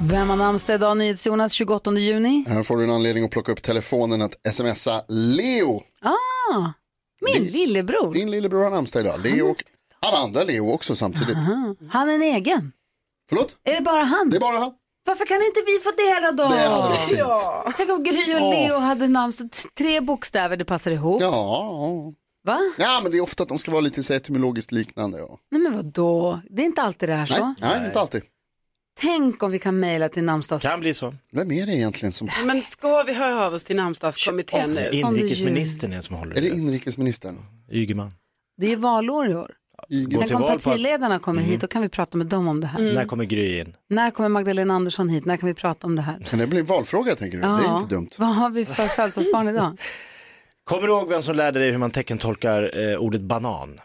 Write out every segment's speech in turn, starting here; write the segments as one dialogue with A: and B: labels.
A: Vem har namnsdag idag? NyhetsJonas 28 juni.
B: Här får du en anledning att plocka upp telefonen att smsa Leo.
A: Ah, min lillebror.
B: Din lillebror har namnsdag idag. Leo och alla andra Leo också samtidigt.
A: Ah, Han är en egen.
B: Förlåt?
A: Är det bara han?
B: Det är bara han.
A: Varför kan inte vi få dela då?
B: Det hade varit fint.
A: Tänk om Gry och
B: Ja.
A: Leo hade namnsdag. T- Tre bokstäver, det passar ihop.
B: Ja,
A: Va?
B: ja, men det är ofta att de ska vara lite så etymologiskt liknande. Ja.
A: Nej men vadå? Det är inte alltid det här så.
B: Nej, nej, inte alltid.
A: Tänk om vi kan mejla till namnsdags...
C: Kan bli så.
B: Vem är det egentligen som...
D: Men ska vi höra av oss till namnsdagskommittén nu?
C: Inrikesministern är den som håller
B: Är det
C: i
B: inrikesministern?
C: det. Ygeman.
A: Det är ju valår i år.
B: Ygeman.
A: Tänk
C: till
A: om
C: val på att- Mhm.
A: partiledarna kommer hit, då kan vi prata med dem om det här.
C: När kommer Gry in?
A: När kommer Magdalena Andersson hit? När kan vi prata om det här?
B: Kan det bli en valfråga tänker du? Det är inte dumt.
A: Vad har vi för födelsedagsbarn idag?
C: Kommer du ihåg vem som lärde dig hur man teckentolkar eh, ordet banan?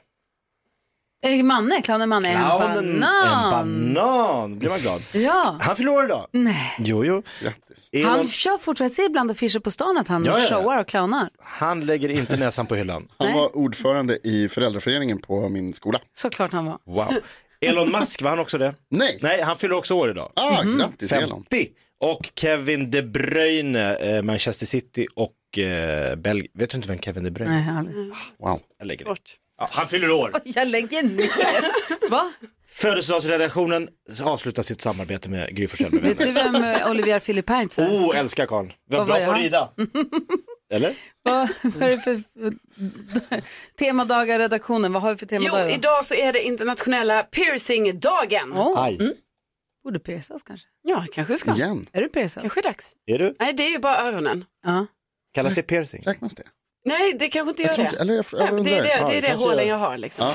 A: Eh, Manne, clownen Manne, en
C: Clownen- En
A: banan.
C: banan, blir man glad.
A: Ja, Mm.
C: Han förlorar idag. Nej. Jo, jo.
B: Grattis.
C: Elon,
A: han
C: han...
A: kör fortfarande. Jag ser ibland affischer på stan att han
C: Ja, ja, ja.
A: showar och clownar.
C: lägger inte näsan på hyllan.
B: Han
A: Nej.
B: var ordförande i föräldraföreningen på min skola.
A: Såklart han var.
C: Wow. Elon Musk, var han också det?
B: Nej,
C: Nej, han fyller också år idag.
B: Ah,
A: Mhm.
B: grattis Elon.
C: 50. Och Kevin De Bruyne, eh, Manchester City och eh, Belgien. Vet du inte vem Kevin De Bruyne är?
A: Nej, aldrig.
B: Wow.
C: Jag lägger det. Ja, han fyller år.
A: Jag lägger ner. Va?
C: Födelsedagsredaktionen avslutar sitt samarbete med Gry Forssell med
A: Vet
C: vänner.
A: du vem eh, Olivier Filippertz är?
C: Oh, älskar Karl. Vad
A: Vad
C: bra
A: var
C: på att
A: jag?
C: rida. Eller?
A: Vad vad är det för temadagar redaktionen? Vad har vi för
D: Jo,
A: temadagar?
D: idag så är det internationella piercingdagen.
A: Åh,
C: Aj.
A: borde piercas kanske.
D: Ja, kanske ska.
B: Igen,
A: Är du piercad?
D: Kanske dags.
C: Är du?
D: Nej, det är ju bara öronen.
A: Ja.
C: Kallas det piercing?
B: räknas det?
D: Nej, det kanske inte
B: Jag
D: gör
B: tror
D: det.
B: inte, eller jag, jag
D: Nej, men
B: undrar.
D: det är det, det, är
C: kanske
D: det
C: gör det.
D: hålen jag har liksom.
B: Ja.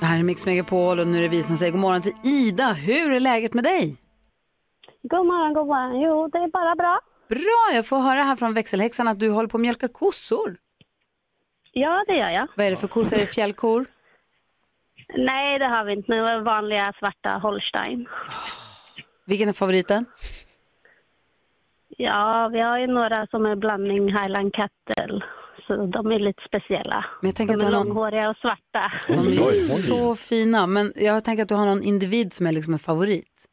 A: Det här är Mix Megapol och nu är det vi som säger god morgon till Ida. Hur är läget med dig?
E: God morgon, god morgon. Jo, det är bara bra.
A: Bra, jag får höra här från växelhäxan att du håller på att mjölka kossor.
E: Ja, det gör jag.
A: Vad är det för kossor? Är det fjällkor?
E: Nej, det har vi inte. Nu är det vanliga svarta Holstein.
A: Vilken är favoriten?
E: Ja, vi har ju några som är blandning Highland Cattle. Så de är lite speciella.
A: Men jag tänker att
E: de är
A: du har någon-
E: långhåriga och svarta.
A: De är ju
C: oj.
A: så fina, men jag tänker att du har någon individ som är liksom en favorit.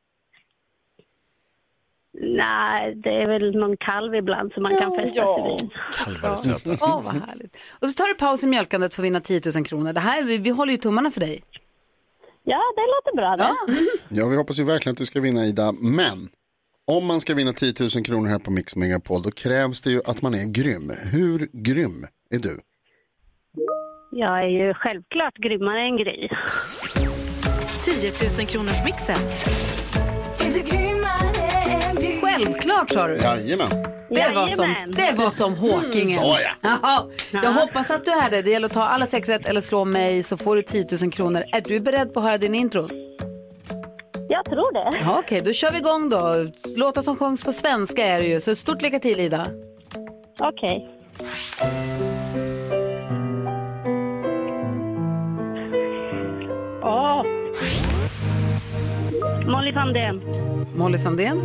E: Nej, det är väl någon kalv ibland som man kan fästa sig vid.
C: Kalvar är söta.
A: Åh, vad härligt. Och så tar du paus i mjölkandet för att vinna 10 000 kronor. Det här, vi, vi håller ju tummarna för dig.
E: Ja, det låter bra. Det.
B: Ja, vi hoppas ju verkligen att du ska vinna Ida, men om man ska vinna 10 000 kronor här på Mix Megapol då krävs det ju att man är grym. Hur grym är du?
E: Jag är ju självklart grymmare än
F: 10
E: Gry.
F: 000 kronors mixen.
A: Självklart sa du.
B: Jajamän.
A: Det var som,
E: Jajamän.
A: det var som Håkingen.
B: Mm. Sa jag.
A: Jaha. Jag hoppas att du är det. Det gäller att ta alla sex rätt eller slå mig så får du 10 000 kronor. Är du beredd på att höra din intro?
E: Jag tror det.
A: Ja, Okej, då kör vi igång då. Låtar som sjungs på svenska är det ju, så stort lycka till Ida.
E: Okej. Åh! Molly Sandén.
A: Molly Sandén,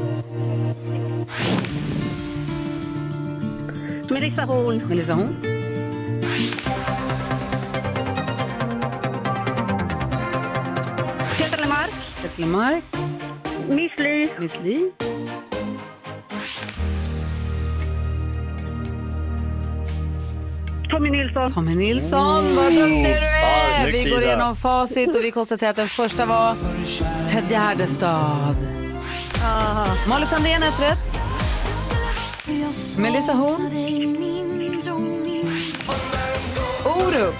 E: Melissa Horn.
A: Melissa Horn,
E: Petra Lemark.
A: Petter Lemark,
E: Miss Li.
A: Miss Li,
E: Tommy Nilsson.
A: Tommy Nilsson. Vad duktig du är!
C: Snyggt,
A: Vi går
C: Ida.
A: igenom facit och vi konstaterar att den första var Ted Gärdestad. Molly Sandén ett rätt. Melissa Horn, Orup.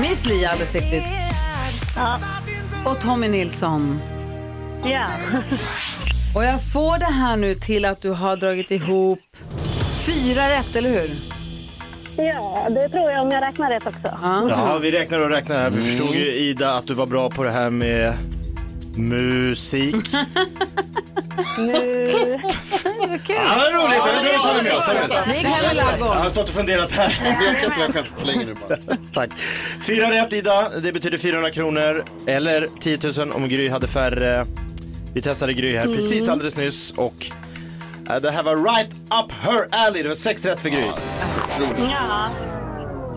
A: Miss Li alldeles riktigt. Och Tommy Nilsson.
E: Ja.
A: Och jag får det här nu till att du har dragit ihop fyra rätt, eller hur?
E: ja, det tror jag om jag räknar rätt också.
C: Jaha, vi räknar och räknar här. Vi förstod ju Ida att du var bra på det här med musik.
E: Nu...
A: Det var kul.
C: Ja, vad roligt! Ja, det tar vi med oss.
G: Alltså.
A: Vi gick hem i
C: Han
A: ladugården.
C: har stått och funderat här.
B: Vi har skämt- vi har skämtat för länge nu bara.
C: Tack. Fyra rätt Ida, det betyder 400 kronor eller 10 000 om Gry hade färre. Vi testade Gry
A: Mm.
C: här precis alldeles nyss och eh, det här var right up her alley. Det var sex rätt för Gry.
E: Ja,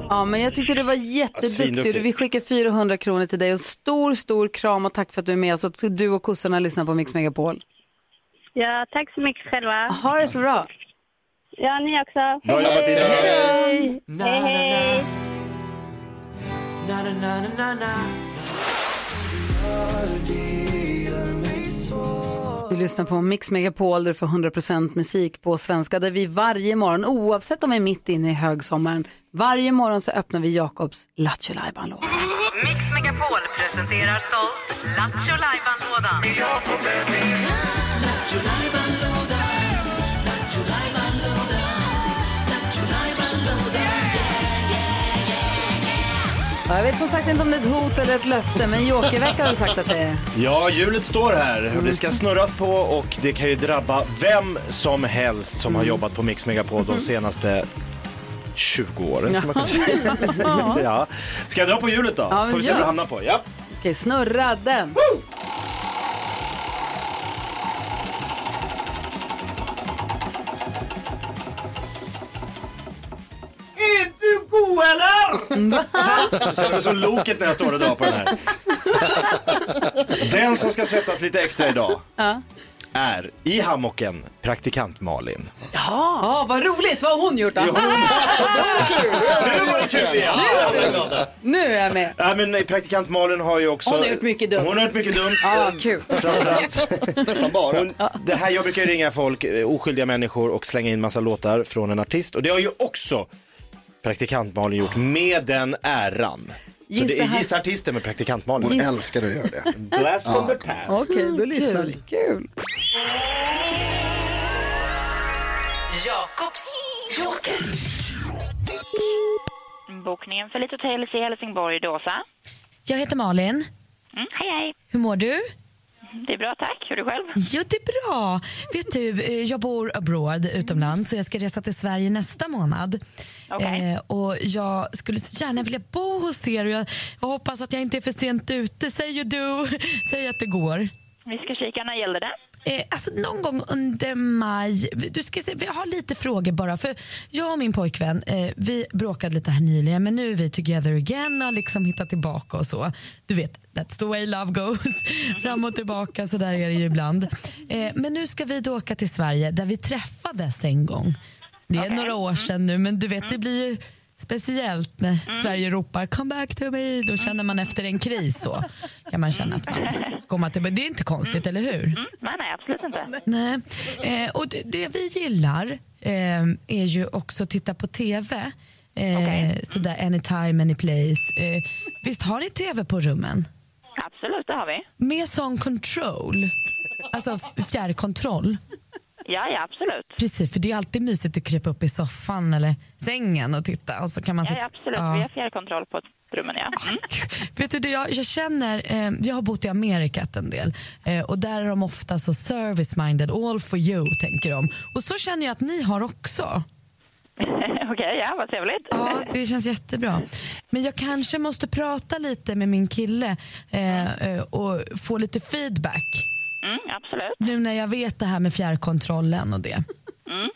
A: Ja, men jag tyckte du var jätteduktig.
C: Svinduktig.
A: Du, vi skickar 400 kronor till dig och stor, stor kram och tack för att du är med oss och att du och kossorna lyssnar på Mix Megapol.
E: ja, tack så mycket själva.
A: Ha det så bra.
E: Ja, ni också.
C: Bra jobbat Ida.
A: Hej!
E: Hej, hej.
A: Du lyssnar på Mix Megapol där du får 100% musik på svenska där vi varje morgon, oavsett om vi är mitt inne i högsommaren, varje morgon så öppnar vi Jakobs Lattjo Lajban-låda.
D: Mix Megapol presenterar stolt Lattjo Lajban-lådan.
A: Ja, Jag vet som sagt inte om det är ett hot eller ett löfte, men jokervecka har du sagt att det är.
C: Ja, hjulet står här och det ska snurras på och det kan ju drabba vem som helst som har
A: Mm.
C: jobbat på Mix Megapol
A: Mm-hmm.
C: de senaste 20 åren. Ska, man kunna säga. ja. ska jag dra på hjulet då?
A: Ja, men
C: Får vi se
A: gör
C: vad det
A: det.
C: hamnar på. Ja.
A: Okej, snurra den.
C: Är du god eller? Jag känner mig som Loket när jag står och drar på den här. Den som ska svettas lite extra idag är i hammocken praktikant Malin.
A: Ja, vad roligt. Vad har hon gjort då?
C: Nu var det kul igen! Ja, jag är glad där.
A: Nu är jag med.
C: Nej, men praktikant Malin har ju också...
A: Hon har gjort mycket dumt.
C: Hon har gjort mycket dumt.
A: Ja, kul.
C: Framförallt.
B: Nästan bara.
C: Hon, det här, jag brukar ju ringa folk, eh, oskyldiga människor och slänga in massa låtar från en artist. Och det har ju också praktikant Malin gjort med den äran. Så
A: Gissa
C: det är
A: här.
C: gissa artisten med praktikant Malin.
B: Hon älskar att göra det.
C: Blast from the past.
A: Okej, då lyssnar vi. Kul.
D: Jakobs joker.
H: Bokningen för Litet Hotels i Helsingborg, Dåsa.
D: Jag heter Malin.
H: Mm, hej, hej. Mm,
D: Hur mår du?
H: Det är bra, tack. Hur är du själv?
D: Jo, det är bra. Vet du, eh, jag bor abroad, utomlands, så jag ska resa till Sverige nästa månad.
H: Okej.
D: Eh, och jag skulle så gärna vilja bo hos er och jag, jag hoppas att jag inte är för sent ute. Säg ju du, säg att det går.
H: Vi ska kika. När gäller det?
D: Eh, alltså någon gång under maj, du ska se, jag har lite frågor bara. För jag och min pojkvän eh, vi bråkade lite här nyligen men nu är vi together again och har liksom hittat tillbaka och så. Du vet, that's the way love goes. Fram och tillbaka, så där är det ju ibland. Eh, men nu ska vi då åka till Sverige där vi träffades en gång. Det är några år
H: Mm.
D: sedan nu men du vet det blir ju speciellt när
H: Mm.
D: Sverige ropar come back to me. Då känner man efter en kris så kan man känna att man kommer tillbaka. Det är inte konstigt, eller hur?
H: Mm, nej, nej, absolut inte.
D: Nej. Eh, och det, det vi gillar eh, är ju också att titta på TV. Eh,
H: Okej.
D: Sådär anytime, anyplace. Eh, visst har ni TV på rummen?
H: Absolut, det har vi.
D: Med sån control. Alltså f- fjärrkontroll.
H: Ja, ja, absolut.
D: Precis, för det är alltid mysigt att krypa upp i soffan eller sängen och titta. Och så kan man
H: Ja,
D: sitta-
H: ja, absolut.
D: Ja.
H: Vi har fjärrkontroll på rummen, ja. Mm.
D: Vet du, det jag, jag känner, eh, jag har bott i Amerika en del eh, och där är de ofta så service-minded, all for you tänker de. Och så känner jag att ni har också.
H: Okej, ja, vad trevligt.
D: Ja, det känns jättebra. Men jag kanske måste prata lite med min kille eh, eh, och få lite feedback
H: Mm, absolut.
D: nu när jag vet det här med fjärrkontrollen och det.
H: Mm.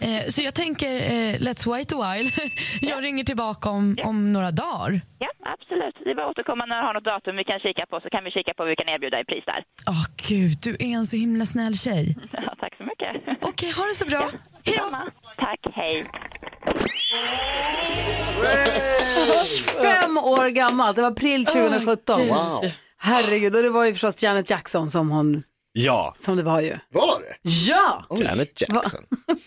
D: Eh, så jag tänker, eh, let's wait a while. jag ringer tillbaka om, om några dagar.
H: Ja, absolut. Det är bara att återkomma när du har något datum vi kan kika på så kan vi kika på vad vi kan erbjuda i pris där.
D: Åh gud, du är en så himla snäll tjej.
H: Ja, tack så mycket.
D: Okej, ha det så bra. Hej då!
H: Samma. Tack, hej.
A: Fem år gammalt. Det var april 2017.
B: Wow.
A: Herregud, och det var ju förstås Janet Jackson som hon,
C: Ja,
A: som det var ju.
B: Var det?
A: Ja!
C: Janet Jackson.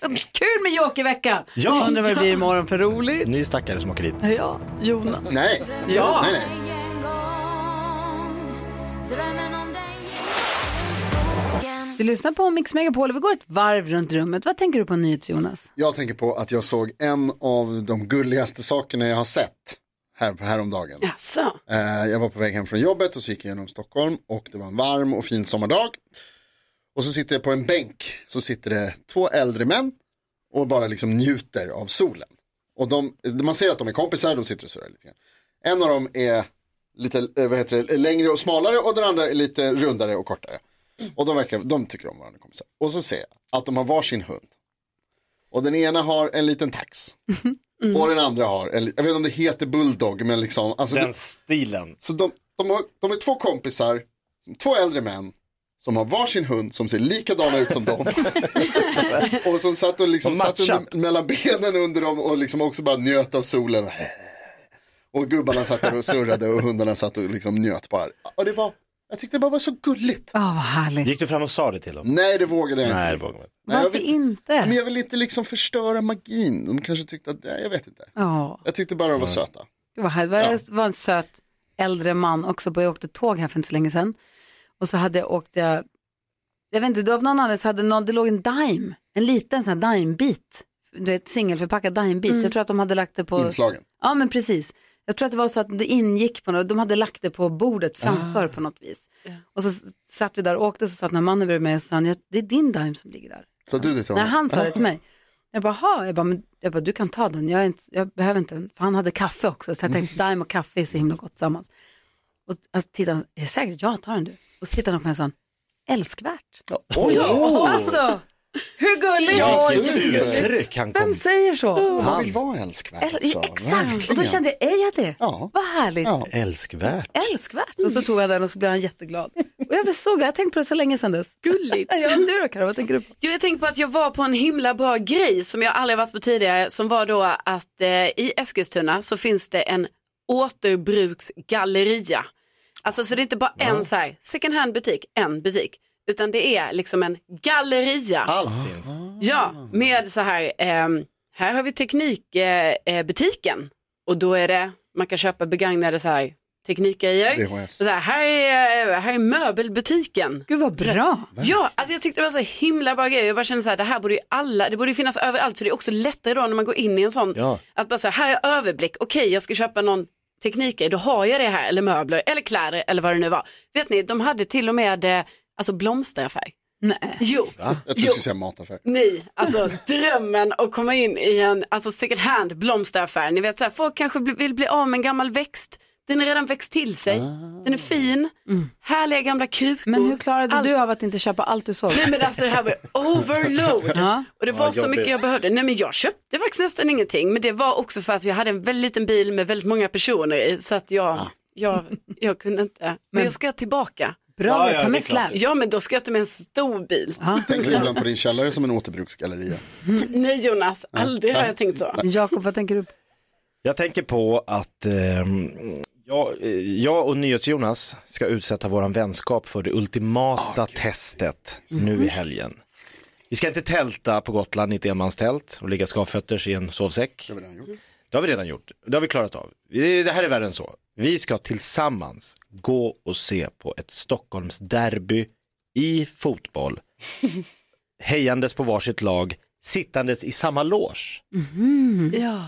A: Kul med jokervecka!
C: Ja.
A: Undrar vad det blir imorgon för roligt.
C: Ny stackare som åker hit.
A: Ja, Jonas.
B: Nej.
A: Ja.
B: Nej, nej.
A: Du lyssnar på Mix Megapol och vi går ett varv runt rummet. Vad tänker du på nyhets Jonas?
B: Jag tänker på att jag såg en av de gulligaste sakerna jag har sett här, häromdagen.
G: Jaså?
B: Eh, Jag var på väg hem från jobbet och så gick jag genom Stockholm och det var en varm och fin sommardag. Och så sitter jag på en bänk, så sitter det två äldre män och bara liksom njuter av solen. Och de, man ser att de är kompisar, de sitter och sådär lite grann. En av dem är lite eh, vad heter det, längre och smalare och den andra är lite rundare och kortare. Och de, verkar, de tycker om varandra kompisar. Och så ser jag att de har varsin hund. Och den ena har en liten tax. Och den andra har, en, li- jag vet inte om det heter bulldog, men liksom. Alltså det-
C: Den stilen.
B: så de, de, har, de är två kompisar, som- två äldre män som har varsin hund som ser likadana ut som dem. och som satt, och liksom,
C: Och
B: satt
C: matchat.
B: under, mellan benen under dem och liksom också bara njöt av solen. Och gubbarna satt där och surrade och hundarna satt och liksom njöt bara. Och det var, jag tyckte det bara var så gulligt.
A: Åh, vad härligt.
C: Gick du fram och sa det till dem?
B: Nej, det vågade jag
C: Nej, det
B: inte.
C: vågar man inte.
B: Nej, jag
A: Varför
B: vill- Men
A: inte?
B: jag vill inte liksom förstöra magin. De kanske tyckte att, nej, jag vet inte.
A: Ja,
B: Jag tyckte bara de var söta.
A: det var, härligt. det var en söt äldre man också. på- Jag åkte tåg här för inte så länge sedan. Och så hade jag åkt, jag, jag vet inte, då av någon anledning så hade någon, det låg en Dime, en liten sån här Dime-bit. Du vet, singelförpackad Dime-bit. Jag tror att de hade lagt det på...
B: Inslagen.
A: Ja, men precis. Jag tror att det var så att det ingick på något, de hade lagt det på bordet framför på något vis. Och så s- satt vi där och åkte, så satt den här mannen bredvid mig och så sa han, "Ja, det är din dime som ligger där.
B: Så du det till
A: När
B: honom?
A: han sa det till mig, jag bara, "Ha." jag bara, men, jag bara du kan ta den, jag, är inte, jag behöver inte den. För han hade kaffe också, så jag tänkte dime och kaffe är så himla gott tillsammans. Och han tittade, han, är det säkert? Ja, ta den du. Och så tittade han på mig och sa, han, älskvärt.
C: Oj!
A: Alltså, hur gulligt?
B: Ja,
C: Vilket
B: absolut.
C: uttryck han kom
A: Vem säger så?
B: Han vill vara älskvärd.
A: Eller,
B: alltså.
A: exakt, och då
B: Verkligen.
A: kände jag, är jag det?
B: Ja.
A: Vad härligt.
B: Ja.
C: Älskvärt.
A: älskvärt. Och så tog jag den och så blev han jätteglad. Och jag blev så glad, jag har tänkt på det så länge sedan dess.
D: Gulligt.
A: Ja, du då Karo, vad tänker du på?
D: Jo, jag tänker på att jag var på en himla bra grej som jag aldrig varit på tidigare som var då att eh, i Eskilstuna så finns det en återbruksgalleria. Alltså så det är inte bara en så här second hand butik, en butik, utan det är liksom en galleria.
C: Allt finns.
D: Ja, med så här, ehm, här har vi teknikbutiken eh, butiken. och då är det, man kan köpa begagnade så här teknikgrejer.
B: VHS.
D: Så här, här, är, eh, här är möbelbutiken.
A: Gud vad bra.
D: Ja, alltså jag tyckte det var så himla bra grej. Jag bara kände så här, det här borde ju alla, det borde ju finnas överallt för det är också lättare då när man går in i en sån,
C: Ja.
D: att bara så här, här är överblick, okej jag ska köpa någon teknikgrej, då har jag det här, eller möbler, eller kläder, eller vad det nu var. Vet ni, de hade till och med eh, alltså blomsteraffär.
A: Nej.
D: Jo,
B: Jag tror du skulle säga mataffär.
D: Nej, alltså drömmen att komma in i en alltså second hand blomsteraffär. Ni vet så här, folk kanske bli- vill bli av med en gammal växt. Den har redan växt till sig. Den är fin. Härliga gamla krukor.
A: Mm. Men hur klarade
D: Allt.
A: du av att inte köpa allt du såg?
D: Nej men alltså det här var overload.
A: Ja.
D: Och det var så
C: jobbigt.
D: mycket jag behövde. Nej men jag köpte faktiskt nästan ingenting. Men det var också för att jag hade en väldigt liten bil med väldigt många personer i. Så att jag, jag, jag kunde inte. Men, jag ska tillbaka.
A: Bra,
C: Ja, ja,
A: ta
C: det är
A: med
C: klart.
A: släp.
D: Ja men då ska jag ta med en stor bil.
A: Ah.
B: Tänker du ibland på din källare som en återbruksgalleria?
D: Nej Jonas, aldrig har jag tänkt så.
A: Jakob, vad tänker du på?
C: Jag tänker på att ehm, jag, eh, jag och NyhetsJonas ska utsätta våran vänskap för det ultimata testet nu i helgen. Vi ska inte tälta på Gotland i ett enmanstält och ligga skavfötters i en sovsäck.
B: Det har vi redan gjort.
C: Det har vi redan gjort. Det har vi klarat av. Vi- Det här är värre än så. Vi ska tillsammans gå och se på ett Stockholmsderby i fotboll. Hejandes på varsitt lag, sittandes i samma loge.
D: Ja.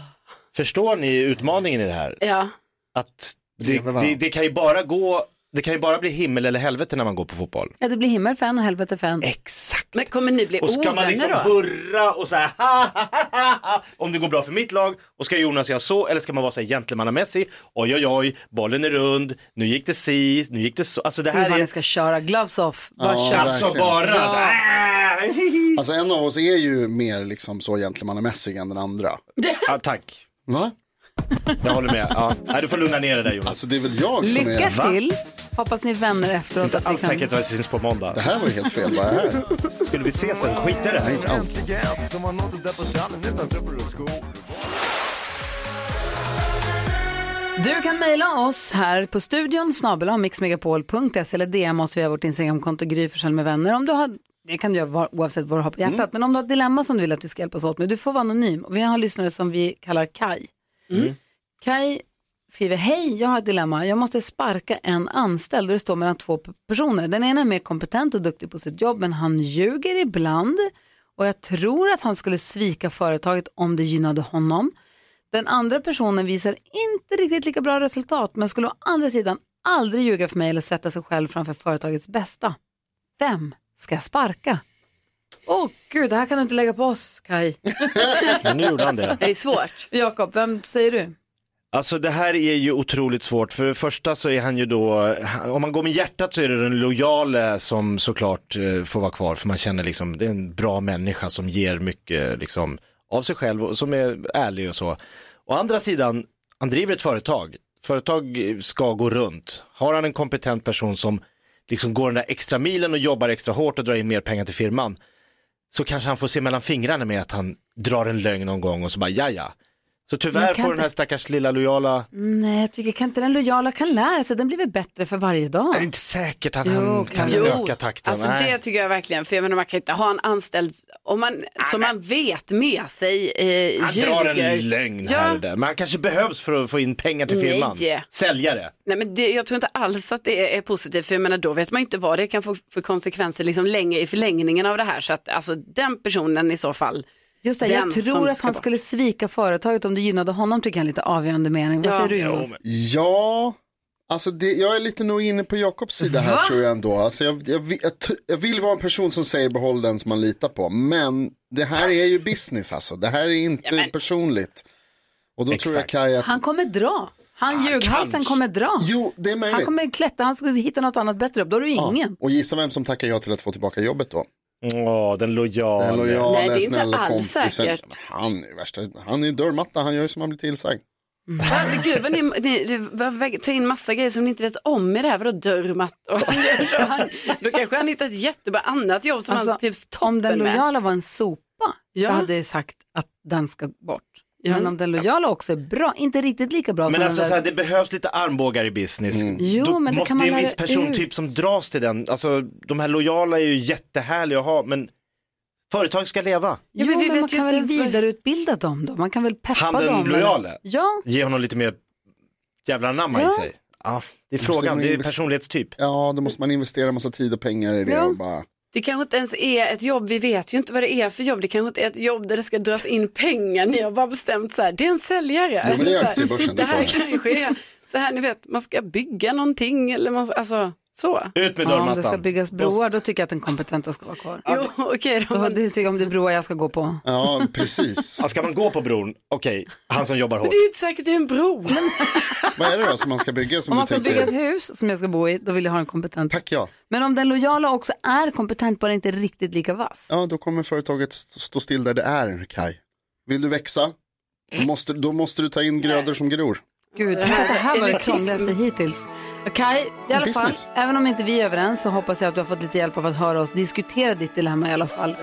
C: Förstår ni utmaningen i det här?
D: Ja.
C: Att det,
B: Lever varandra.
C: det, det kan ju bara gå, det kan ju bara bli himmel eller helvete när man går på fotboll.
A: Ja, det blir himmel för en och helvete för en.
C: Exakt.
D: Men kommer ni bli
C: Och ska
D: ovänner
C: man liksom
D: då?
C: hurra och så här, ha, ha, ha, ha, ha, om det går bra för mitt lag och ska Jonas göra så eller ska man vara så här gentlemannamässig, oj oj oj, bollen är rund, nu gick det si, nu gick det så, alltså det
A: Hur
C: här
A: man
C: är
A: ska köra, gloves off, bara
B: Ja,
A: kör.
C: alltså
B: verkligen.
C: bara, så här, "Ah, hi, hi."
B: Alltså en av oss är ju mer liksom så gentlemannamässig än den andra.
C: ja, tack,
B: Va?
C: jag håller med, ja. Nej, du får lugna ner dig där Jonas,
B: Alltså det är väl jag som
A: Lycka
B: är...
C: Va?
A: till. Hoppas ni är vänner efteråt. Att vi
C: alls
A: kan...
C: säkert att det syns på måndag,
B: Det här var ju helt fel. Vad är det här?
C: skulle vi ses sen, skit i det här.
B: Nej, inte alls.
A: Du kan mejla oss här på studion snabel mixmegapol.se eller DM oss via vårt Instagramkonto Gry Forssell med vänner. Om du har, det kan du göra var, oavsett vad du har på hjärtat. Men om du har ett dilemma som du vill att vi ska hjälpas åt med, du får vara anonym. Och vi har en lyssnare som vi kallar Kai. Kai skriver, hej jag har ett dilemma, jag måste sparka en anställd och det står mellan två p- personer. Den ena är mer kompetent och duktig på sitt jobb men han ljuger ibland och jag tror att han skulle svika företaget om det gynnade honom. Den andra personen visar inte riktigt lika bra resultat men skulle å andra sidan aldrig ljuga för mig eller sätta sig själv framför företagets bästa. Vem Ska jag sparka? Åh gud, det här kan du inte lägga på oss, Kai.
C: Men nu gjorde han det.
D: Det är svårt.
A: Jakob, vem säger du?
C: Alltså det här är ju otroligt svårt. För det första så är han ju då, om man går med hjärtat så är det den lojale som såklart eh, får vara kvar. För man känner liksom, det är en bra människa som ger mycket liksom, av sig själv och som är ärlig och så. Å andra sidan, han driver ett företag. Företag ska gå runt. Har han en kompetent person som liksom går den där extra milen och jobbar extra hårt och drar in mer pengar till firman så kanske han får se mellan fingrarna med att han drar en lögn någon gång och så bara ja ja. Så tyvärr
A: Men
C: får
A: kan
C: den här
A: inte- Mm.
C: stackars lilla lojala,
A: Nej, jag tycker kan inte den lojala kan lära sig, den blir väl bättre för varje dag.
C: det är inte säkert att
A: Jo,
C: han
A: kanske.
C: kan
A: Jo,
C: öka takten.
D: Alltså
C: Nej.
D: det tycker jag verkligen, för jag menar man kan inte ha en anställd om man, som man vet med sig eh,
C: Han drar en lögn
D: Ja.
C: här och där. Men han kanske behövs för att få in pengar till firman.
D: Nej.
C: Säljare.
D: Nej, men det, jag tror inte alls att det är positivt, för jag menar, då vet man inte vad det kan få för konsekvenser liksom, länge, i förlängningen av det här. Så att alltså, den personen i så fall,
A: Just det,
D: den
A: jag
D: som
A: tror att
D: ska
A: han
D: bort.
A: skulle svika företaget om det gynnade honom, tycker jag är lite avgörande mening. Vad
D: Ja.
A: säger du Jonas?
B: Ja, alltså det, jag är lite nog inne på Jakobs sida här tror jag ändå. Alltså jag, jag, vi- jag, t- jag vill vara en person som säger behåll den som man litar på. Men det här är ju business alltså. Det här är inte personligt. Och då tror jag
C: Exakt.
B: Kaj att...
A: Han kommer dra. Han ljughalsen kommer dra.
B: Jo, det är möjligt.
A: Han kommer klättra, han ska hitta något annat bättre upp. Då har du
B: Ja,
A: ingen.
B: Och gissa vem som tackar ja till att få tillbaka jobbet då?
C: Åh, den lojala.
B: Den lojala,
D: Nej, det är inte
B: snälla
D: alls
B: kompisen.
D: säkert.
B: Men Han är ju värsta, han är ju dörrmatta, han gör ju som han blir tillsagd.
D: herregud vad ni, ni, ni vad- tar in massa grejer som ni inte vet om i det här, vadå dörrmatt och han gör så han, Då kanske han hittar ett jättebra annat jobb som han
A: Alltså,
D: trivs
A: Om
D: toppen
A: den
D: med.
A: lojala var en sopa
D: Ja.
A: så hade jag sagt att den ska bort.
D: Ja.
A: Men om den lojala också är bra, inte riktigt lika bra
C: Men
A: som
C: alltså
A: den
C: så här,
A: där.
C: det behövs lite armbågar i business.
B: Mm.
A: Jo,
C: Då
A: men det
C: måste-
A: kan man
C: det är en
A: lära
C: viss persontyp som dras till den. Alltså de här lojala är ju jättehärliga att ha men företag ska leva.
A: Jo,
D: Ja, men
A: men
D: vi vet
A: man
D: ju
A: kan
D: inte
A: väl
D: ens vad-
A: vidareutbilda dem då? Man kan väl peppa
C: Han den
A: dem? eller-
C: lojale?
A: Ja,
C: Ge honom lite mer jävla namn
A: Ja.
C: i sig. Ja, det är frågan, det är personlighetstyp.
B: Ja, då måste man investera massa tid och pengar i det
A: Ja.
B: och bara...
D: Det kanske inte ens är ett jobb, vi vet ju inte vad det är för jobb. Det kanske inte är ett jobb där det ska dras in pengar. Ni har bara bestämt så här, det är en säljare.
B: Jo, men det är
D: Så här,
B: aktiebörsen, det
D: det här
B: står
D: kanske är så här, ni vet, man ska bygga någonting eller man, alltså så.
C: Ut med
A: ja om det ska
C: dörrmattan.
A: byggas broar då tycker jag att den kompetenta ska vara kvar.
D: Jo, okej då.
A: Då,
D: Men
A: det tycker jag om det är broar jag ska gå på.
B: Ja, precis.
C: Ja, ska man gå på bron? Okej, han som jobbar hårt.
D: det är ju inte säkert det är en bro.
B: Vad är det då som man ska bygga som
A: Om
B: du
A: man ska
B: tänker?
A: bygga ett hus som jag ska bo i, då vill jag ha en kompetent.
B: Tack ja.
A: Men om den lojala också är kompetent, bara inte riktigt lika vass.
B: Ja, då kommer företaget st- stå still där det är, Kai. Vill du växa? Då måste, då måste du ta in grödor som gror.
A: Gud, det här, det här var det krångligaste hittills. Kaj, i alla fall,
B: Business.
A: även om inte vi är överens så hoppas jag att du har fått lite hjälp av att höra oss diskutera ditt dilemma i alla fall.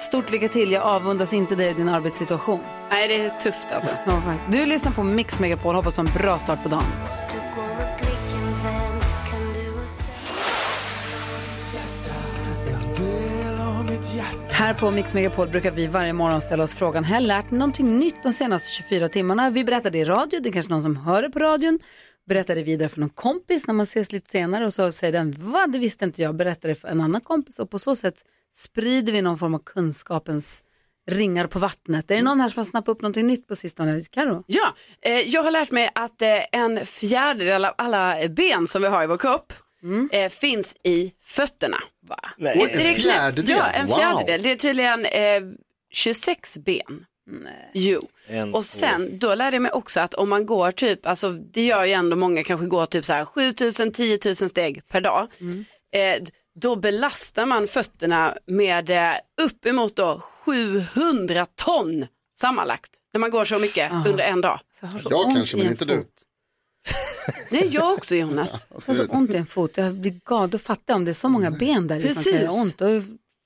A: Stort lycka till, jag avundas inte dig och din arbetssituation.
D: Nej, det är tufft alltså.
A: Ja, verkligen. Du lyssnar på Mix Megapol, hoppas du har en bra start på dagen. Här på Mix Megapol brukar vi varje morgon ställa oss frågan, har jag lärt mig någonting nytt de senaste 24 timmarna? Vi berättar det i radio, det är kanske någon som hör det på radion, berättar det vidare för någon kompis när man ses lite senare och så säger den, vad det visste inte jag, berättar det för en annan kompis och på så sätt sprider vi någon form av kunskapens ringar på vattnet. Är det någon här som har snappat upp någonting nytt på sistone? Karo?
D: Ja, eh, jag har lärt mig att eh, en fjärdedel av alla ben som vi har i vår kropp eh, finns i fötterna. Va?
C: Nej.
D: Är inte
B: Mm. En
D: det knäppt?
B: fjärdedel?
D: Ja, en
B: Wow.
D: fjärdedel. Det är tydligen eh, 26 ben. Jo.
C: En-
D: Och sen, då lärde jag mig också att om man går typ, alltså det gör ju ändå många kanske går typ så här 7000, 10 000 steg per dag.
B: Mm.
D: Eh, då belastar man fötterna med eh, uppemot då 700 ton sammanlagt. När man går så mycket under en dag.
A: Så har så
B: Jag
A: ont
B: kanske,
A: i
B: men
A: en
B: inte
A: fot.
B: du.
D: Nej, jag också Jonas.
A: Jag har så ont i en fot, jag blir galen. Då fattar jag om det är så
B: Mm.
A: många ben där i som kan
D: Precis.
A: göra ont. Då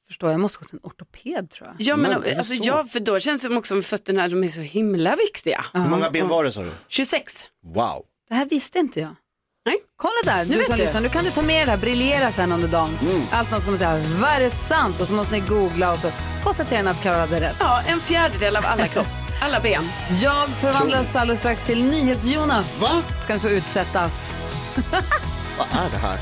A: förstår jag, jag måste gå till en ortoped tror jag.
D: Ja, men,
B: Men, är det
D: alltså,
B: så?
D: ja, för då känns det också som fötterna, de är så himla viktiga.
C: Hur många ben var det sa du?
D: 26.
C: Wow.
A: Det här visste inte jag.
D: Nej.
A: Kolla där, du
D: vet
A: som
D: du.
A: lyssnar, nu kan du ta med det här, briljera sen under dagen.
B: Mm.
A: Allt någon som kommer säga, vad är det sant? Och så måste ni googla och så konstaterar ni att Karo hade rätt.
D: Ja, en fjärdedel av alla kropp, alla ben.
A: Jag förvandlas alldeles strax till NyhetsJonas.
B: Va?
A: Ska ni få utsättas.
B: Vad är det här?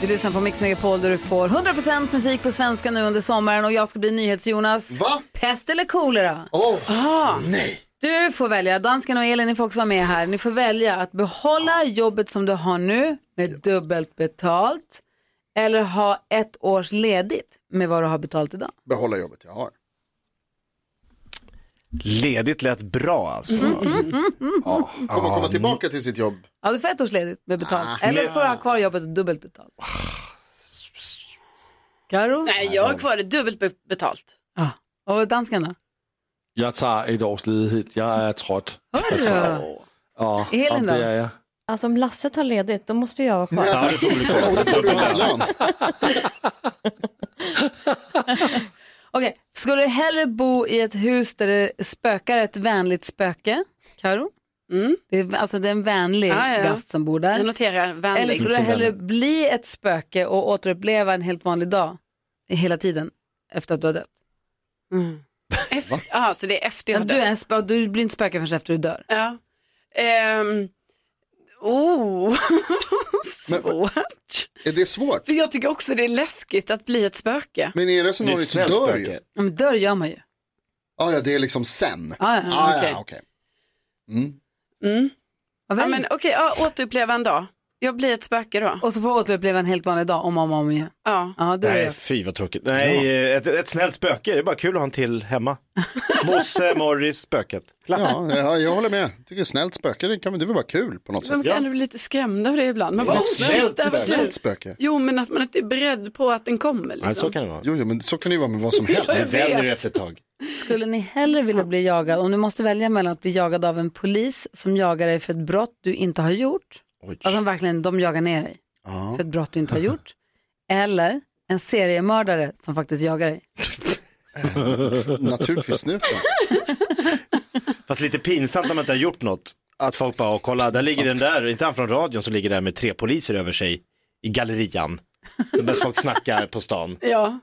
A: Du lyssnar på Mix Megapol där du får 100% musik på svenska nu under sommaren och jag ska bli NyhetsJonas.
B: Va?
D: Ah.
A: Pest eller kolera?
B: Åh, nej.
A: Du får välja, dansken och Elin, ni får också vara med här. Ni får välja att behålla jobbet som du har nu med dubbelt betalt eller ha ett års ledigt med vad du har betalt idag.
B: Behålla jobbet jag har.
C: Ledigt lät bra alltså.
B: Kommer
C: Ah.
B: komma tillbaka till sitt jobb.
A: Ja, du får ett års ledigt med betalt.
D: Ah.
A: Eller så får du ha kvar jobbet och dubbelt betalt. Karo?
D: Nej, jag har kvar det dubbelt be- betalt.
A: Ja. Och dansken då?
I: Jeg tager et års ledighed. Jeg er trådt.
A: Hörru!
I: Og,
A: Elin
I: og
A: då?
I: det er jeg.
F: Alltså om Lasse tar ledigt, då måste jag vara kvar.
C: Ja, det får bli kvar.
B: Och då får du hans lön.
A: Okej, skulle du hellre bo i ett hus där det spökar ett vänligt spöke? Karo?
D: Mm.
A: Det är, alltså det är en vänlig
D: Ja, ja.
A: gast som bor där.
D: Jag noterar vänlig.
A: Eller skulle du
I: Som
A: hellre
I: vänner.
A: bli ett spöke och återuppleva en helt vanlig dag hela tiden efter att du har dött?
D: Efter, aha, så det är efter jag
A: Men
D: har
A: du,
D: dött.
A: är en spö- du blir inte spöke förrän efter du dör.
D: Ja. Ehm, oh, svårt.
B: Är det svårt?
D: För jag tycker också det är läskigt att bli ett spöke.
B: Men i resonemanget så dör ju.
A: Ja, Men dör gör man ju.
B: Ja, ja, det är liksom sen.
A: Ja, ja,
B: Ah,
D: okej.
B: ja, okej. Mm.
D: Mm.
A: Vad
D: Ja,
A: väljer
D: men
A: du?
D: okej, ja, återuppleva en dag. Jag blir ett spöke då.
A: Och så får du återuppleva en helt vanlig dag om och om, och om igen.
D: Ja.
A: Ja, då är
C: Nej,
A: det.
C: fy vad tråkigt. Nej, eh, ett, ett snällt spöke, det är bara kul att ha en till hemma. Mosse, Morris, spöket.
B: Ja, jag, jag håller med. Tycker snällt spöke, det, kan, det är väl bara kul på något sätt.
D: Man kan ändå bli lite skrämd av det ibland. Man bara, oh, shit,
C: snällt
D: det här var
C: spöke.
D: slut.
B: Snällt spöke.
D: Jo, men att man inte är beredd på att den kommer.
C: Nej, så
D: Liksom.
C: kan det vara.
B: Jo, jo, men så kan det ju vara med vad som helst.
C: Det vänder efter ett tag.
A: Skulle ni hellre vilja bli jagad, om du måste välja mellan att bli jagad av en polis som jagar dig för ett brott du inte har gjort,
C: Oj.
A: alltså verkligen de jagar ner dig
B: Ja.
A: för ett brott du inte har gjort, eller en seriemördare som faktiskt jagar dig.
B: Naturligtvis snuten.
C: Fast lite pinsamt om man inte har gjort något. Att folk bara, "Åh, kolla, där ligger den där, inte han från radion som ligger där med tre poliser över sig i gallerian. Där folk snackar på stan.
D: Ja.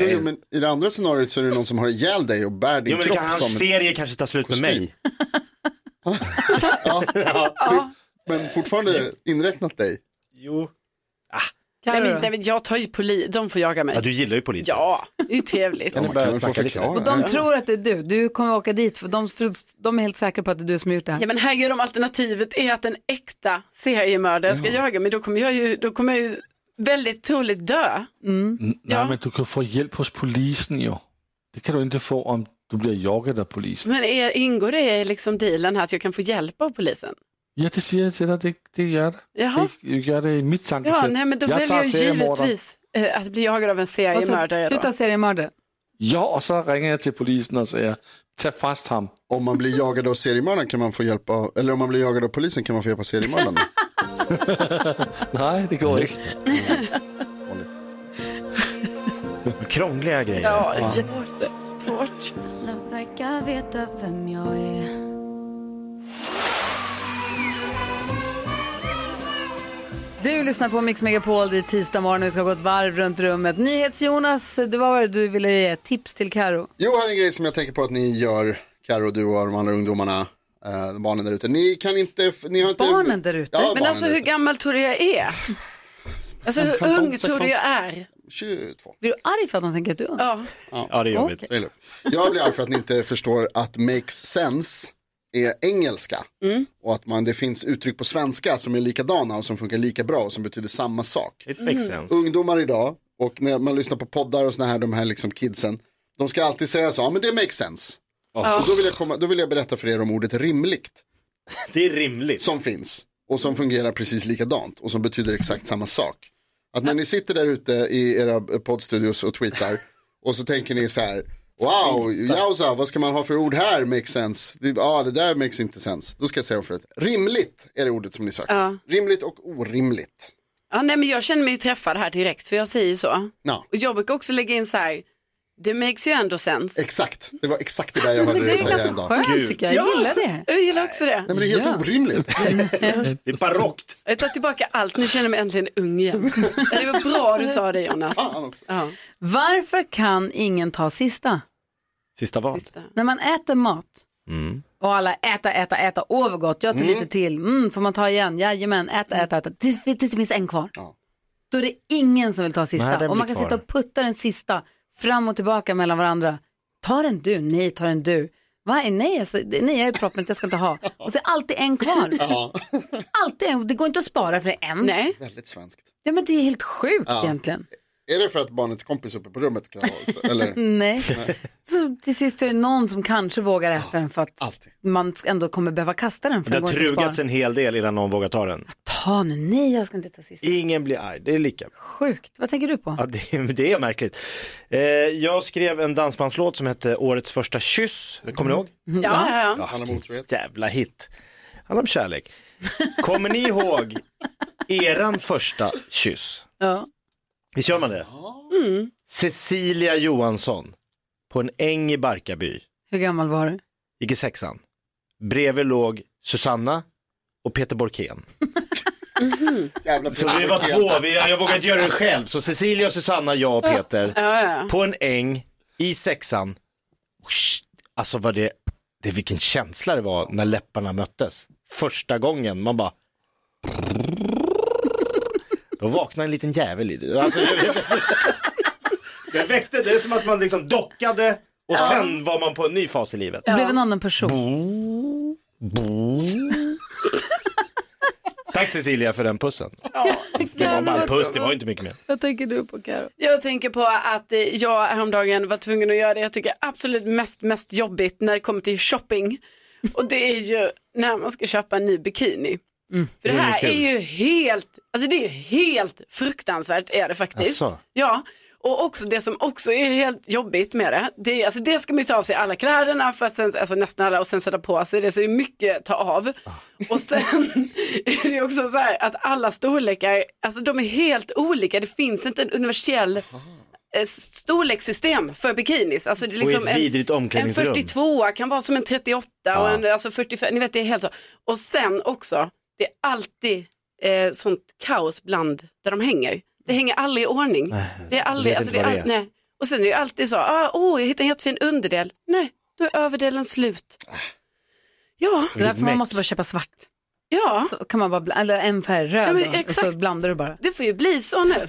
B: Jo, jo, men i det andra scenariot så är det någon som har ihjäl dig och bär din
C: Jo men det
B: kropp
C: kan, hans
B: som en
C: serie kanske tar slut med
B: kostym.
C: mig.
B: ja. Det, men fortfarande inräknat dig.
C: Jo.
D: Nej,
A: Karo
D: men,
A: då?
D: nej, men jag tar ju polis, de får jaga mig.
C: Ja, du gillar ju poliser.
D: Ja, det är ju trevligt.
B: Ja, man
C: börja
B: kan väl få
C: snacka lite?
B: förklara.
A: Och
D: Mm.
A: de tror att det är du. Du kommer åka dit för de, för de är helt säkra på att det är du som har gjort det här.
D: Ja men herregud om alternativet är att en äkta seriemördare ska jaga mig då kommer jag ju, då kommer jag ju väldigt troligt dö.
I: Nej,
D: Ja.
I: men du kan få hjælp hos polisen jo. Det kan du ikke få, om du bliver jogget af polisen.
D: Men är, ingår det i liksom dealen här att jag kan få hjälp av polisen?
I: Ja, det siger jeg til dig. Det, det gør det.
D: Jaha,
I: Det gør det i mit tankesæt.
D: ja, nej, men då väljer jag ju
I: seriemorderen.
D: givetvis eh, att bli jagad av en
A: Och så,
D: seriemördare.
A: du
D: Då.
A: tar seriemördare.
I: Jo, og så ringer jeg til polisen og siger, tag fast ham.
B: Om man blir jagad av seriemördaren kan man få hjälp av, eller om man blir jagad av polisen kan man få hjälp av seriemördaren.
I: Nej, det går ikke.
C: Krångliga grejer.
D: Ja, svårt. svårt.
A: Du lyssnar på Mix Megapol, det är tisdag morgon och vi ska gå ett varv runt rummet. NyhetsJonas, det var vad du ville ge tips till Karo.
B: Jo, här är en grej som jag tänker på att ni gör, Karo, du och de andra ungdomarna, eh, barnen där ute. Ni kan inte, f- ni har inte...
A: Barnen där ute?
B: Ja,
D: Men alltså hur gammal tror du jag är? Alltså hur
B: 15,
D: ung tror
B: 16?
D: du jag är?
B: 22.
A: Blir du arg för att han tänker att du är ung?
D: Ja,
C: Ja, det är jobbigt.
B: Det är lugnt. Jag blir arg för att ni inte förstår att makes sense är engelska. Och att man, det finns uttryck på svenska som är likadana och som funkar lika bra och som betyder samma sak.
C: It makes
A: Mm.
C: sense.
B: Ungdomar idag, och när man lyssnar på poddar och såna här, de här liksom kidsen, de ska alltid säga så, ja men det makes sense. Och då vill, jag komma, då vill jag berätta för er om ordet rimligt.
C: Det är rimligt.
B: som finns och som fungerar precis likadant och som betyder exakt samma sak. Att när ni sitter där ute i era poddstudios och tweetar och så tänker ni så här, wow, jausa, vad ska man ha för ord här makes sense? Det- Ja, det där makes inte sense. Då ska jag säga för att rimligt är det ordet som ni söker.
D: Ja.
B: Rimligt och orimligt.
D: ja nej, men jag känner mig ju träffad här direkt för jag säger ju så.
B: Ja,
D: Och jag brukar också lägga in så här, det makes ju ändå sense.
B: exakt. Det var exakt det där jag hörde
A: Men det
B: dig
A: är
B: säga en
A: ganska
B: dag.
A: skönt tycker jag, jag
D: Ja.
A: gillar det.
D: Jag gillar också det.
B: Nej, men det är helt
A: Ja.
B: orimligt.
C: Det är barockt.
D: Jag tar tillbaka allt, nu känner jag mig äntligen ung igen. Det var bra du sa det Jonas.
B: Fan också.
D: Ja,
A: Varför kan ingen ta sista?
C: Sista vad?
D: sista.
A: När man äter mat och alla äta, äta, äta, åh vad gott, jag tar lite till, mm, får man ta igen, jajamän, äta, äta, äta, tills, tills det finns en kvar.
B: Ja.
A: Då är det ingen som vill ta
C: Nej,
A: sista
C: den
A: och man
C: blir
A: kan
C: kvar.
A: sitta och putta den sista fram och tillbaka mellan varandra. Ta den du, nej ta den du. Va? Nej, alltså, det- nej, jag är proppmätt, jag ska inte ha. Och så är alltid en kvar.
B: Ja.
A: Alltid en, det går inte att spara för en.
B: Väldigt svenskt.
A: Ja, men det är helt sjukt
B: Ja.
A: egentligen.
B: Är det för att barnets kompis uppe på rummet kan ha också? Eller?
A: Nej. Så till sist är det någon som kanske vågar äta den för att man ändå kommer behöva kasta den. För
C: Det
A: den går
C: har
A: inte att spara.
C: trugats en hel del innan någon vågar ta den.
A: Ta nu, nej jag ska inte ta sist.
C: Ingen blir arg, det är lika.
A: Sjukt, vad tänker du på?
C: Ja, det, det är märkligt. Eh, jag skrev en dansbandslåt som hette Årets första kyss, kommer
A: Mm.
C: ni ihåg?
D: Ja, Mm. ja, ja.
C: Handlar om otrohet. Jävla hit. Handlar om kärlek. Kommer ni ihåg eran första kyss?
A: Ja.
C: Visst gör man det?
A: Mm.
C: Cecilia Johansson på en äng i Barkarby,
A: Hur gammal var du?
C: gick i sexan. Bredvid låg Susanna och Peter Borkén.
B: Jävla
C: Så vi var två, vi, jag vågade inte göra det själv. Så Cecilia, Susanna, jag och Peter
D: Ja, ja.
C: på en äng i sexan. Usch, Alltså vad det, det, vilken känsla det var när läpparna möttes. Första gången, man bara... Då vaknade en liten jävel i det. Alltså, jag, jag väckte, det är som att man liksom dockade och sen var man på en ny fas i livet.
A: Du blev en annan person.
C: Tack Cecilia för den pussen. Det var bara en puss, det var ju inte mycket mer.
A: Vad tänker du på Karo?
D: Jag tänker på att eh, jag häromdagen var tvungen att göra det jag tycker är absolut mest, mest jobbigt när det kommer till shopping. Och det är ju när man ska köpa en ny bikini. För Mm. det
J: Det är
D: här
J: kul.
D: är ju helt, alltså det är ju helt fruktansvärt är det faktiskt.
J: Asså.
D: Ja, och också det som också är helt jobbigt med det, det, är, alltså det ska man ju ta av sig alla kläderna för att sen, alltså nästan alla och sen sätta på sig det, så det är mycket att ta av.
C: Ah.
D: Och sen är det ju också så här att alla storlekar, alltså de är helt olika, det finns inte en universell eh, storlekssystem för bikinis. Alltså det är
C: Och i
D: liksom
C: ett vidrigt
D: en, en
C: omklädningsrum.
D: 42 kan vara som en 38 och
C: Ja.
D: en alltså 45, ni vet det är helt så. Och sen också, det är alltid eh, sånt kaos bland där de hänger. Det hänger aldrig i ordning. Det är aldrig,
J: vet
D: alltså, det
J: inte
D: är,
J: vad
D: all-
J: det är.
D: Nej. Och sen är det ju alltid så, ah, åh jag hittade en jättefin underdel. Nej, då är överdelen slut. Ja.
A: Det är därför man måste bara köpa svart.
D: Ja.
A: Så kan man bara, bla- eller en färg röd
D: Ja, men
A: då, och
D: exakt.
A: så blandar du bara.
D: Det får ju bli så nu.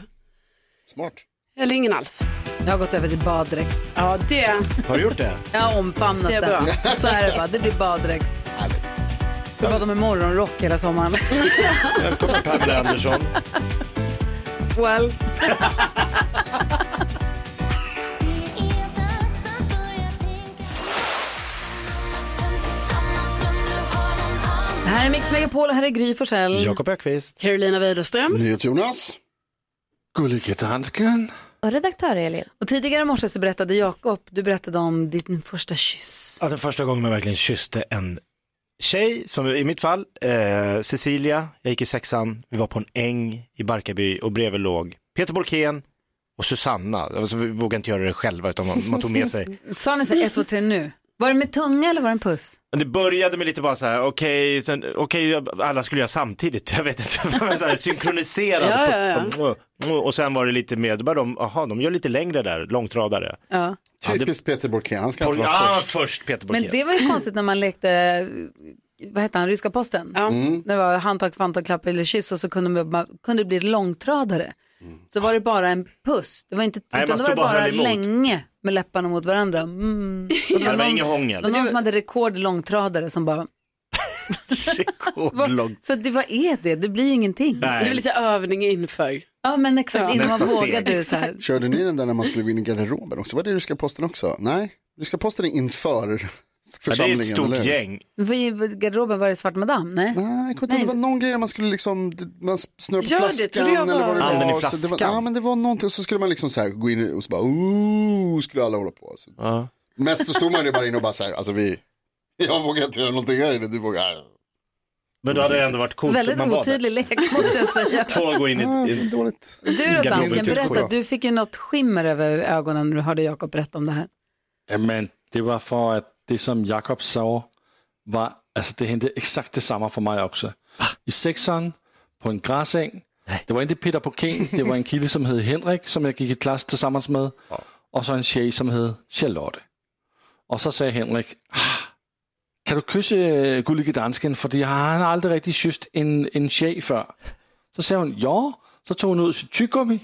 B: Smart.
D: Eller ingen alls.
A: Jag har gått över till baddräkt.
D: Ja, det.
C: Har du gjort det?
A: Jag har omfamnat
D: Det är bra.
A: den. Så är det bara, det blir baddräkt. Ska bada med morgonrock hela sommaren.
C: Välkommen Pamela Andersson.
A: well. Det här är Mix Megapol och här är Gry Forssell.
C: Jakob Ökvist.
D: Carolina Widerström.
B: NyhetsJonas.
I: Gullige dansken.
A: Och redaktör Elin. Och tidigare i morse så berättade Jakob, du berättade om din första kyss.
C: Ja, den första gången man verkligen kysste en tjej, som i mitt fall, eh, Cecilia, jag gick i sexan, vi var på en äng i Barkarby och bredvid låg Peter Borkén och Susanna. Alltså, vi vågade inte göra det själva utan man, man tog med sig.
A: Sa ni så här, ett, två, tre nu? Var det med tunga eller var det en puss?
C: Men det började med lite bara så här, okej, sen- okej, jag- alla skulle göra samtidigt, jag vet inte, men så här, synkroniserad. Mm,
A: Ja, ja,
C: Och sen var det lite mer, då började de, aha, de gör lite längre där, långtradare.
A: Ja. Ah!
B: Typiskt Peter Borkén, han ska
C: Por-
B: inte vara
C: ja,
B: först.
C: först Peter Borkén.
A: Men det var ju konstigt när man lekte, vad hette han, ryska posten?
B: Mm.
A: När det var handtag, fantag, klapp eller kyss och så kunde, man, man- kunde det bli långtradare. Så var det bara en puss, det var inte,
C: Nej,
A: utan
C: man
A: det
C: stod
A: var
C: bara och
A: bara
C: höll emot.
A: länge med läpparna mot varandra. Mm. Och
C: Ja, det var inget
A: Det
C: hångel.
A: var någon som hade rekord i långtradare som bara,
C: Rekordlångt.
A: så det, vad är det? Det blir ju ingenting.
B: Nej. Det är lite
D: övning inför.
A: Ja men exakt, innan man vågade så här.
B: Körde ni den där när man skulle gå in i garderoben också? Var det ryska posten också? Nej, ryska posten är inför församlingen. eller hur?
A: För I garderoben var det svart madam, nej?
B: Nej, jag Det var någon grej där man skulle liksom, man snurra på
A: Ja, det
B: flaskan
A: trodde jag
B: eller vad det
A: var- Anden i
B: var. Så det var
A: flaskan.
B: ja, men det var någonting, och så skulle man liksom så här gå in och så bara, ooh, skulle alla hålla på. Så. Mest så stod man ju bara inne och bara så här, alltså vi, jag vågar inte göra någonting här inne, du vågar.
C: Men då hade det ändå varit coolt
A: Väldigt otydlig lek måste jag säga.
C: Två går in
B: Ah,
C: i... i
A: Du då dansken,
I: Garderoben typ
A: berätta,
I: så.
A: du fick ju något skimmer över ögonen när du hörde Jakob berätta om det här.
I: Jamen, det var för att det som Jakob sa var, alltså det hände exakt detsamma för mig också. I sexan, på en gräsäng, det var inte Peter Pokéen, det var en kille som hette Henrik, som jag gick i klass tillsammans med, och så en tjej som hette Charlotte. Och så sa Henrik, "Ah, kan du kyssa gullige dansken, för han har aldrig riktigt kysst en, en tjej før. Så sa hon ja, så tog hon ut sitt tyggummi,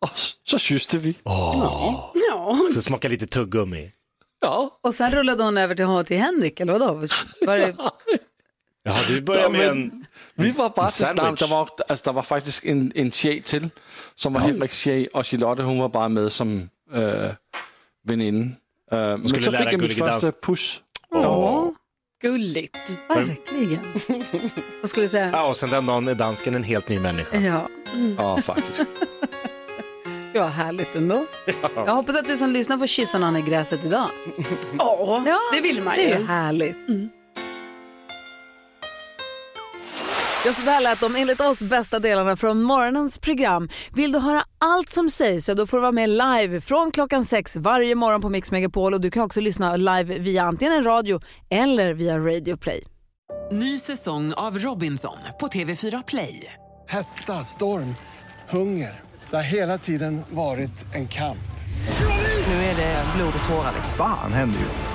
I: och så kysste vi.
C: Åh.
D: Ja.
C: Så smaka lite tuggummi.
K: Ja.
A: Och sen rullade hon över till, till Henrik, eller vadå? Var det...
C: Ja, du börjar med
I: men
C: en...
I: Vi var bare
C: en
I: til start.
C: sandwich.
I: Der var, altså, der var faktisk en, en tjej til, som var Henriks tjej, og Charlotte, hun var bare med som øh, veninde. Øh, men
C: skulle
I: så
C: lære
I: fik
C: dig
I: jeg mit
C: gulligedans.
I: første push.
D: Åh, gulligt.
A: Verkligen. Vad skulle du säga?
C: Ja, och sen den dagen är dansken en helt ny människa.
A: Ja,
I: Ja, faktiskt.
A: det var härligt ändå. Jag hoppas att du som lyssnar får kyssa någon i gräset idag.
D: Åh,
A: Ja,
D: det vill man
A: Det är ju
D: ju. Mm.
A: härligt. Ja, så där lät de enligt oss bästa delarna från morgonens program. Vill du höra allt som sägs så då får du vara med live från klockan sex varje morgon på Mix Megapol och du kan också lyssna live via antingen en radio eller via Radio Play.
K: Ny säsong av Robinson på TV4 Play.
L: Hetta, storm, hunger. Det har hela tiden varit en kamp.
K: Nu är det blod och tårar.
M: Fan händer just det.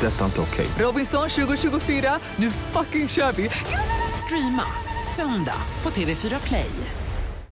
M: Det är detta inte okej.
K: Robinson 2024, nu fucking kör vi! Streama söndag på TV4 Play.